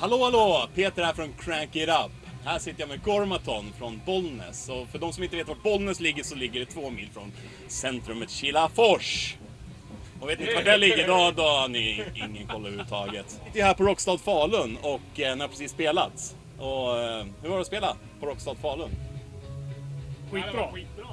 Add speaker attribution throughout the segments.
Speaker 1: Hallå hallå! Peter här från Crank It Up. Här sitter jag med Gormaton från Bollnäs. Och för de som inte vet var Bollnäs ligger så ligger det två mil från centrumet Kilafors. Och vet ni inte vart det ligger? Då, då har ni ingen koll överhuvudtaget. Vi är här på Rockstad Falun och eh, den har precis spelats. Och eh, hur var det att spela på Rockstad Falun?
Speaker 2: Skitbra. Skitbra.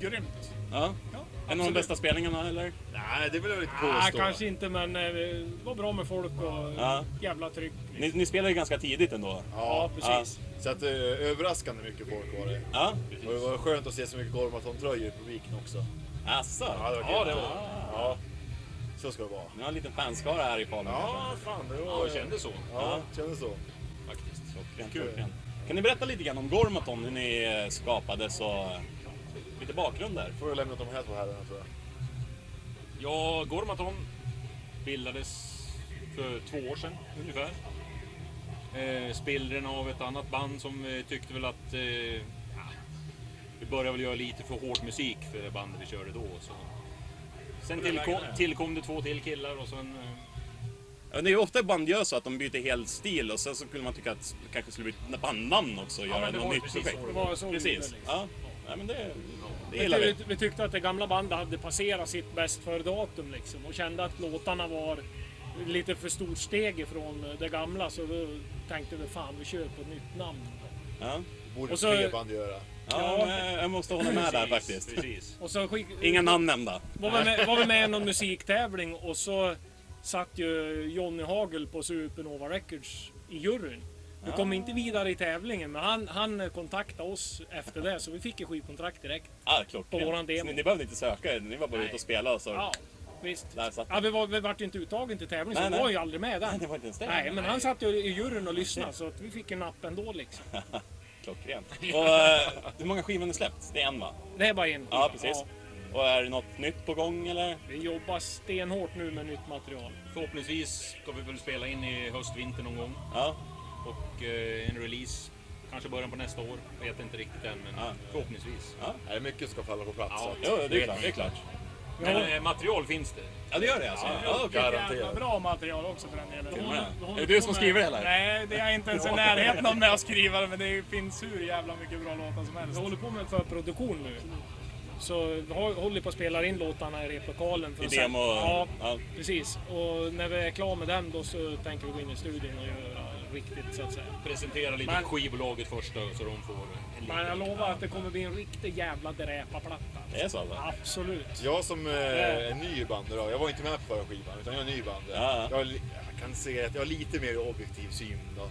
Speaker 2: Grymt.
Speaker 1: Ja. En av de
Speaker 2: absolut.
Speaker 1: bästa spelningarna eller?
Speaker 3: Nej, det vill jag inte
Speaker 2: Nej,
Speaker 3: påstå.
Speaker 2: Ah, kanske inte, men eh, det var bra med folk och
Speaker 1: Ja.
Speaker 2: jävla tryck.
Speaker 1: Ni, ni spelade ju ganska tidigt ändå.
Speaker 2: Ja,
Speaker 3: Ja,
Speaker 2: precis.
Speaker 3: så att eh, överraskande mycket folk var det.
Speaker 1: Ja.
Speaker 3: Och det var skönt att se så mycket Gormaton-tröjor i publiken också.
Speaker 1: Asså?
Speaker 3: Ja, det var
Speaker 1: Ja,
Speaker 3: kul.
Speaker 1: det var.
Speaker 3: Ja, så ska det vara.
Speaker 1: Ni har en liten fanskara här i Falun.
Speaker 3: Ja, fan det var...
Speaker 4: Ja, jag kände så
Speaker 3: Ja, kändes så.
Speaker 4: faktiskt.
Speaker 1: Klockrent, klockrent. Kan ni berätta lite grann om Gormaton, hur ni eh, skapades och eh, lite bakgrund där?
Speaker 3: Får jag lämna de här två herrarna tror jag.
Speaker 4: Ja, Gormaton bildades för två år sedan ungefär. Eh, spillren av ett annat band som eh, tyckte väl att eh, ja, vi började väl göra lite för hård musik för det bandet vi körde då. Så. Sen tillkom, tillkom det två till killar och sen... Eh,
Speaker 1: Ja, Det är ju ofta band gör så att de byter helt stil och sen så skulle man tycka att det kanske skulle bli ett bandnamn också och
Speaker 4: Ja,
Speaker 1: göra
Speaker 4: men det
Speaker 1: något
Speaker 4: var ju
Speaker 1: nytt
Speaker 4: precis
Speaker 1: projekt.
Speaker 4: så
Speaker 2: Det var så vi gjorde,
Speaker 1: Precis.
Speaker 2: liksom.
Speaker 1: Ja. ja, men det, det
Speaker 2: Vi,
Speaker 1: gillar vi.
Speaker 2: ty- vi tyckte att det gamla bandet hade passerat sitt bäst före-datum liksom och kände att låtarna var lite för stort steg ifrån det gamla så då tänkte vi fan vi kör på ett nytt namn.
Speaker 1: Ja.
Speaker 3: Borde
Speaker 2: Och så-
Speaker 3: fler band göra.
Speaker 1: Ja, men jag måste hålla med där faktiskt.
Speaker 4: Precis.
Speaker 2: Och så skick-
Speaker 1: Inga namn nämnda.
Speaker 2: var, vi med, var vi med i någon musiktävling och så satt ju Johnny Hagel på Supernova Records i juryn. Vi kom inte vidare i tävlingen men han, han kontaktade oss efter det så vi fick ju skivkontrakt direkt.
Speaker 1: Ja, klart.
Speaker 2: På våran demo.
Speaker 1: Ah, Ni, ni behövde inte söka, ni var bara ute och spelade. Så.
Speaker 2: Ja, visst.
Speaker 1: Där satt
Speaker 2: Ja, vi, var, vi vart ju inte uttagen till tävling så
Speaker 1: Nej,
Speaker 2: vi
Speaker 1: nej.
Speaker 2: var ju aldrig med där.
Speaker 1: Nej, det var inte ens det.
Speaker 2: Nej, men han satt ju i juryn och lyssnade så att vi fick en napp ändå liksom.
Speaker 1: Klockrent. Och, eh, hur många skivor har ni släppt? Det är en va?
Speaker 2: Det är bara en.
Speaker 1: Ja, precis. Och är det något nytt på gång eller?
Speaker 2: vi jobbar stenhårt nu med nytt material.
Speaker 4: Förhoppningsvis ska vi väl spela in i höst-vinter någon gång.
Speaker 1: Ja.
Speaker 4: Och eh, en release kanske början på nästa år. Vet inte riktigt än, men
Speaker 1: Ja.
Speaker 4: förhoppningsvis.
Speaker 3: Nej, det är mycket som ska falla på plats.
Speaker 4: Ja.
Speaker 3: så att-
Speaker 1: Jo, det är klart. Det är klart.
Speaker 4: Men eh, material finns det.
Speaker 1: Ja, det gör det alltså? Ja, okej.
Speaker 3: Garanterat.
Speaker 2: bra material också för den delen.
Speaker 1: Till och med. Är det du som skriver det eller?
Speaker 5: Nej, det är jag inte ens i närheten av med att skriva det, men det finns hur jävla mycket bra låtar som helst.
Speaker 2: Vi håller på med förproduktion nu. Så vi har- håller på att spela in låtarna i replokalen. För
Speaker 1: I
Speaker 2: att sen-
Speaker 1: demo?
Speaker 2: Ja,
Speaker 1: ja.
Speaker 2: precis. Och när vi är klara med den då så tänker vi gå in i studion och göra riktigt så att säga.
Speaker 4: Presentera lite
Speaker 2: Men-
Speaker 4: skivbolaget först då, så de får en liten...
Speaker 2: Men jag lovar att det kommer bli en riktig jävla dräpaplatta.
Speaker 1: Det är så alltså?
Speaker 2: Absolut.
Speaker 3: Jag som eh, är ny i bandet idag, jag var inte med på förra skivan utan jag är ny i bandet.
Speaker 1: Ja.
Speaker 3: Jag, har li- jag kan se att jag har lite mer objektiv syn då.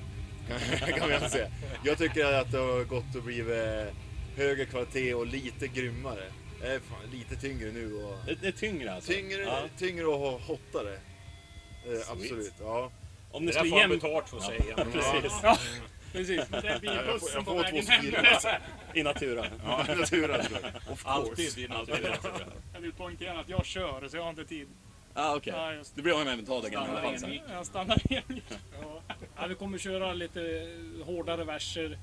Speaker 3: kan man säga. Jag tycker att det har gått och blivit eh, högre kvalitet och lite grymmare. Jag är fan lite tyngre nu och
Speaker 1: Det, det är tyngre alltså?
Speaker 3: tyngre,
Speaker 1: Ja.
Speaker 3: tyngre och hottare. Eh, absolut, ja.
Speaker 1: Om ni
Speaker 4: Det där
Speaker 1: skulle
Speaker 4: får han
Speaker 1: jämföra...
Speaker 4: betalt för att säga.
Speaker 1: Precis.
Speaker 2: Ja, precis. Det är
Speaker 3: Ja, Jag får,
Speaker 2: bilbussen
Speaker 3: jag
Speaker 2: på
Speaker 3: får två
Speaker 2: vägen hem.
Speaker 3: skidor.
Speaker 1: I natura.
Speaker 3: Ja, naturen. Of
Speaker 4: Alltid i naturen.
Speaker 5: Jag vill poängtera att jag kör, så jag har inte tid.
Speaker 1: Ah, okej.
Speaker 5: Ja, just
Speaker 1: Det blir av med betalt i alla fall sen.
Speaker 5: Jag stannar igen.
Speaker 2: Ja, vi kommer köra lite hårdare verser,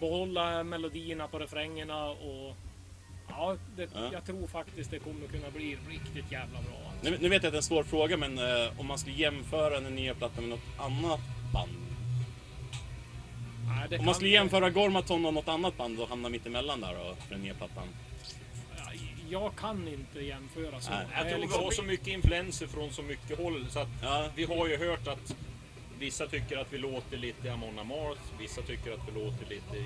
Speaker 2: behålla melodierna på refrängerna och ja, det,
Speaker 1: Ja.
Speaker 2: jag tror faktiskt det kommer kunna bli riktigt jävla bra.
Speaker 1: Nu, nu vet jag att det är en svår fråga, men eh, om man skulle jämföra den nya plattan med något annat band?
Speaker 2: Ja, det
Speaker 1: Om man skulle jämföra Gormaton och något annat band och hamna mittemellan där då, för den nya plattan?
Speaker 2: Ja, Jag kan inte jämföra så.
Speaker 1: Nej,
Speaker 2: Det är
Speaker 4: Jag tror vi
Speaker 2: liksom-
Speaker 4: har så mycket influenser från så mycket håll så att
Speaker 1: Ja.
Speaker 4: vi har ju hört att vissa tycker att vi låter lite Amon Amarth, vissa tycker att vi låter lite In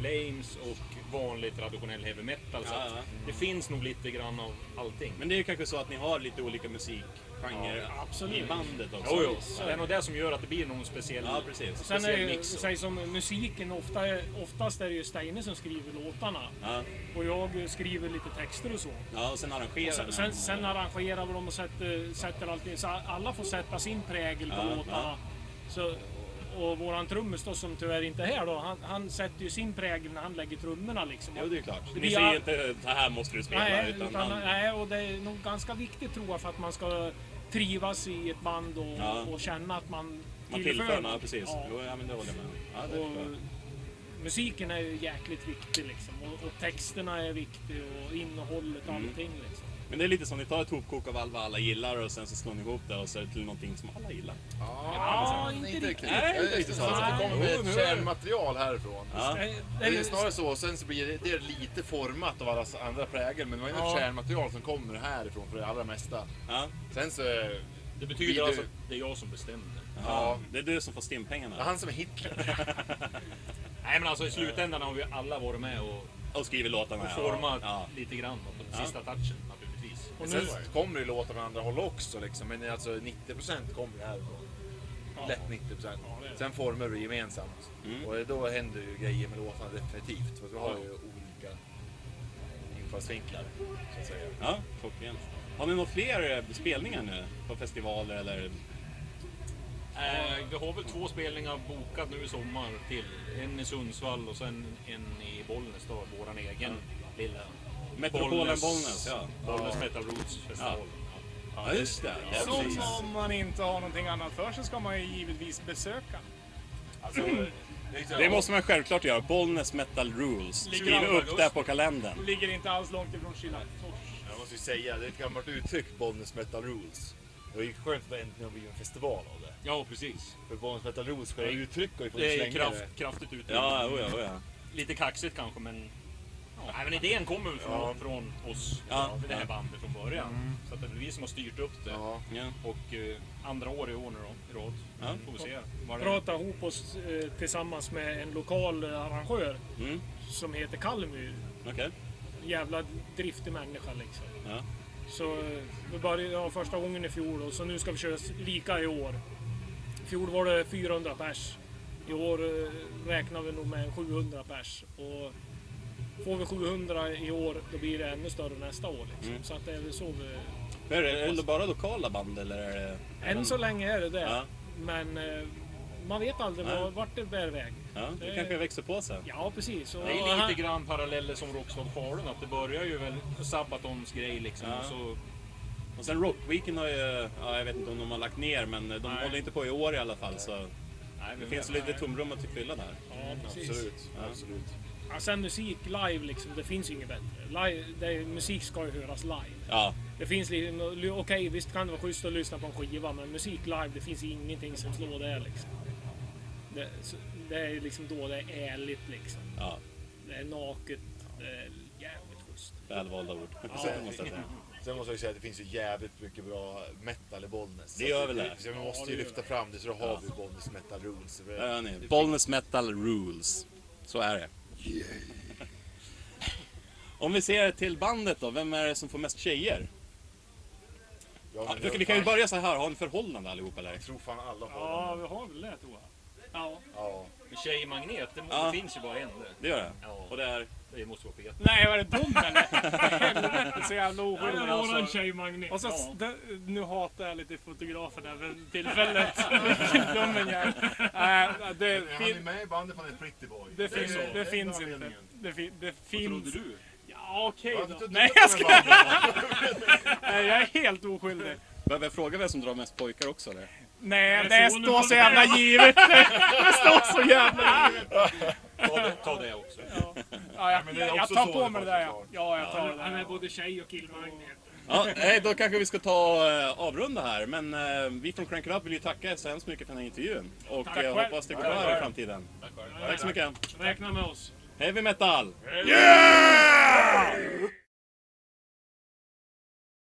Speaker 4: Flames och vanlig traditionell heavy metal. Så
Speaker 1: Ja,
Speaker 4: att
Speaker 1: ja.
Speaker 4: det finns nog lite grann av allting.
Speaker 1: Men det är ju kanske så att ni har lite olika musikgenrer i
Speaker 2: absolut.
Speaker 1: bandet också?
Speaker 4: Jo, jo. Det är nog det som gör att det blir någon speciell,
Speaker 1: Ja, precis.
Speaker 2: Sen är
Speaker 4: speciell
Speaker 2: det ju,
Speaker 4: mix.
Speaker 2: säg som musiken, ofta, oftast är det ju Steine som skriver låtarna
Speaker 1: Ja,
Speaker 2: och jag skriver lite texter och så.
Speaker 1: ja och sen arrangerar
Speaker 2: Sen, sen, sen arrangerar vi dem och sätter, sätter allting, så alla får sätta sin prägel på
Speaker 1: Ja, ja.
Speaker 2: låtarna. Så, och våran trummis då, som tyvärr inte är här då, han, han sätter ju sin prägel när han lägger trummorna liksom.
Speaker 1: Jo, det är klart. Ni
Speaker 2: Vi
Speaker 1: säger
Speaker 2: har-
Speaker 1: inte det här måste du spela,
Speaker 2: nej,
Speaker 1: utan,
Speaker 2: utan,
Speaker 1: han...
Speaker 2: nej, och det är nog ganska viktigt tror jag för att man ska trivas i ett band och,
Speaker 1: Ja.
Speaker 2: och känna att man,
Speaker 1: Man tillför, ja
Speaker 2: något.
Speaker 1: precis.
Speaker 2: Ja.
Speaker 1: Jo, ja, men det håller jag med om. ja, det förstår
Speaker 2: Och,
Speaker 1: jag.
Speaker 2: musiken är ju jäkligt viktig liksom. Och, och texterna är viktiga och
Speaker 1: Mm.
Speaker 2: innehållet och allting liksom.
Speaker 1: Men det är lite som ni tar ett hopkok av allt vad alla gillar och sen så slår ni ihop det och så är det till någonting som alla gillar.
Speaker 2: Ja, inte,
Speaker 3: inte inte riktigt.
Speaker 2: Nej,
Speaker 3: Nej, det är inte sant.
Speaker 2: nej.
Speaker 3: Det kommer med
Speaker 2: Jo, nu
Speaker 3: ett
Speaker 2: är det-
Speaker 3: kärnmaterial härifrån.
Speaker 1: Ja.
Speaker 2: Nej,
Speaker 3: Det är
Speaker 2: nej,
Speaker 3: snarare så, sen så blir det, det är lite format av alla andra prägel, men det var ju
Speaker 2: Ja.
Speaker 3: något kärnmaterial som kommer härifrån för det allra mesta.
Speaker 1: Ja.
Speaker 3: Sen så...
Speaker 4: Det
Speaker 3: Vill
Speaker 4: betyder
Speaker 3: du-
Speaker 4: alltså att det är jag som bestämmer.
Speaker 1: Ja.
Speaker 3: Ja.
Speaker 1: Det är du som får
Speaker 3: Det är
Speaker 1: stimpengarna.
Speaker 3: han som är Hitler.
Speaker 4: Nej men alltså i slutändan har vi alla varit med och
Speaker 1: Och skriver låtarna. ja.
Speaker 4: format
Speaker 1: Ja.
Speaker 4: lite grann på sista touchen naturligtvis.
Speaker 2: Och
Speaker 3: Sen
Speaker 2: nu,
Speaker 3: så kommer det ju låtar från andra håll också, liksom. men alltså 90% kommer det härifrån. Lätt 90%. Sen formar vi gemensamt.
Speaker 1: Mm.
Speaker 3: Och då händer ju grejer med låtarna definitivt, för att vi har ju olika infallsvinklar. Så att säga.
Speaker 1: Ja, klockrent. Har ni några fler eh, spelningar nu? På festivaler eller?
Speaker 4: Eh, vi har väl två spelningar bokat nu i sommar till. En i Sundsvall och sen en i Bollnäs då, våran egen lilla
Speaker 1: Metropolen Bollnäs. Ja.
Speaker 4: Bollnäs Metal Roots festival.
Speaker 1: ja, just det. Ja, precis.
Speaker 5: Som om man inte har någonting annat för sig ska man ju givetvis besöka.
Speaker 3: Alltså, det är ju så-
Speaker 1: Det måste man självklart göra. Bollnäs Metal Rules.
Speaker 5: Ligger
Speaker 1: Skriv
Speaker 5: i
Speaker 1: upp
Speaker 5: august.
Speaker 1: det på kalendern.
Speaker 5: Ligger inte alls långt ifrån Kilafors.
Speaker 3: Jag måste ju säga, det är ett gammalt uttryck, Bollnäs Metal Rules. Och det är skönt att det äntligen har blivit en festival av det.
Speaker 4: Ja precis.
Speaker 3: För Bollnäs Metal Rules, själva uttrycket har ju funnits
Speaker 4: Det är
Speaker 3: länge.
Speaker 4: kraft, kraftigt ut.
Speaker 1: Ja, oja, oja.
Speaker 4: Lite kaxigt kanske men... Ja. Nej, men idén kommer väl från,
Speaker 3: Ja.
Speaker 4: från oss,
Speaker 1: Ja. Mm.
Speaker 4: det här bandet från början. Så att det är vi som har styrt upp det.
Speaker 3: Ja.
Speaker 1: Ja.
Speaker 4: Och eh, andra år i år nu då, i rad. Mm.
Speaker 1: Ja.
Speaker 4: Får vi se. vad det-
Speaker 2: prata ihop oss eh, tillsammans med en lokal eh, arrangör
Speaker 1: Mm,
Speaker 2: som heter Kalmy.
Speaker 1: okej.
Speaker 2: Jävla driftig människa liksom.
Speaker 1: Ja.
Speaker 2: Så eh, vi började ja, första gången i fjol och så nu ska vi köra s- lika i år. I fjol var det 400 pers. I år eh, räknar vi nog med en 700 pers. Och får vi 700 i år då blir det ännu större nästa år. Liksom.
Speaker 1: Mm.
Speaker 2: Så att det är väl så vi...
Speaker 1: Är det, är det bara lokala band eller? Är det...
Speaker 2: Än så länge är det det.
Speaker 1: Ja.
Speaker 2: Men eh, man vet aldrig
Speaker 1: Nej.
Speaker 2: var, vart det bär väg.
Speaker 1: Ja, det kanske växer på sen.
Speaker 2: Ja precis. Och
Speaker 4: Det är
Speaker 2: han-
Speaker 4: lite grann paralleller som Rockstad Falun, att det börjar ju väl Sabatons grej liksom.
Speaker 1: Ja.
Speaker 4: Och så,
Speaker 1: Och sen Rockweekend har ju, ja, jag vet inte om de har lagt ner men eh, de
Speaker 4: Nej.
Speaker 1: håller inte på i år i alla fall så
Speaker 4: nej,
Speaker 1: det finns lite tomrum att fylla där.
Speaker 2: Ja, precis.
Speaker 3: Absolut, absolut.
Speaker 2: Ja, sen musik live liksom, det finns ju inget bättre. Live, det är, musik ska ju höras live.
Speaker 1: Ja,
Speaker 2: Det finns liksom, okej visst kan det vara schysst att lyssna på en skiva, men musik live, det finns ingenting som slår det liksom. Det, så- det är liksom då det är ärligt liksom.
Speaker 1: ja.
Speaker 2: Det är naket, det är jävligt schysst.
Speaker 1: Välvalda ord. måste jag säga.
Speaker 3: Sen måste jag ju säga att det finns ju jävligt mycket bra metal i Bollnäs.
Speaker 1: Det gör
Speaker 3: Så
Speaker 1: väl det.
Speaker 3: Så vi måste
Speaker 2: Ja,
Speaker 3: ju
Speaker 2: det
Speaker 3: lyfta fram det, så då har vi Bollnäs Metal Rules.
Speaker 1: Där hör ni. Bollnäs Metal Rules. Så är det. Om vi ser till bandet då, vem är det som får mest tjejer?
Speaker 3: Ja,
Speaker 1: Ja,
Speaker 3: men
Speaker 1: vi-
Speaker 3: jag-
Speaker 1: vi kan ju börja så här, har ni förhållande allihop eller?
Speaker 3: Jag tror fan alla har
Speaker 2: Ja,
Speaker 3: ja.
Speaker 2: vi har väl det tror jag. Ja.
Speaker 3: ja.
Speaker 4: Tjejmagnet, det
Speaker 1: Ja.
Speaker 4: ja. finns ju bara en det.
Speaker 1: Det gör det?
Speaker 4: Ja.
Speaker 1: Och det är?
Speaker 4: Det måste vara Peter.
Speaker 5: Nej, var det dum eller? Helvete så jävla oskyldig alltså.
Speaker 2: tjejmagnet.
Speaker 5: Och så,
Speaker 2: ja.
Speaker 5: det, nu hatar jag lite fotografer där för tillfället. Vilken dum en jag är. Äh, det,
Speaker 3: Han är
Speaker 5: fin,
Speaker 3: med i bandet för han är pretty boy.
Speaker 5: det, fin,
Speaker 3: är så.
Speaker 5: det
Speaker 3: är
Speaker 5: finns inte.
Speaker 3: enda anledningen.
Speaker 5: Det, fin, det
Speaker 4: Trodde
Speaker 5: finns...
Speaker 4: du?
Speaker 5: Ja, okej
Speaker 3: Varför
Speaker 5: då.
Speaker 3: tog du
Speaker 5: Nej,
Speaker 3: upp
Speaker 5: jag
Speaker 3: det
Speaker 5: ska...
Speaker 3: med bandet?
Speaker 5: Nej, jag är helt oskyldig.
Speaker 1: Behöver jag fråga vem som drar mest pojkar också eller?
Speaker 5: Nej,
Speaker 2: Nej,
Speaker 5: det
Speaker 2: solen
Speaker 5: står så
Speaker 2: håller
Speaker 5: jävla givet. Det står så jävla givet.
Speaker 4: Ta det, ta det också.
Speaker 5: Ja, jag,
Speaker 3: men det är
Speaker 5: jag,
Speaker 3: också
Speaker 5: tar
Speaker 3: så
Speaker 5: på
Speaker 3: det
Speaker 5: mig det
Speaker 3: var
Speaker 5: där. Ja,
Speaker 3: såklart.
Speaker 5: ja jag tar det
Speaker 2: Han är
Speaker 5: där.
Speaker 2: både tjej och killmagnet.
Speaker 1: Ja, nej, då kanske vi ska ta eh, avrunda här. Men eh, vi från Crank It Up vill ju tacka så hemskt mycket för den här intervjun. Och
Speaker 2: Tack
Speaker 1: eh,
Speaker 2: själv.
Speaker 1: hoppas det går bra här i framtiden. Tack så mycket.
Speaker 2: Räkna med oss.
Speaker 1: Heavy metal!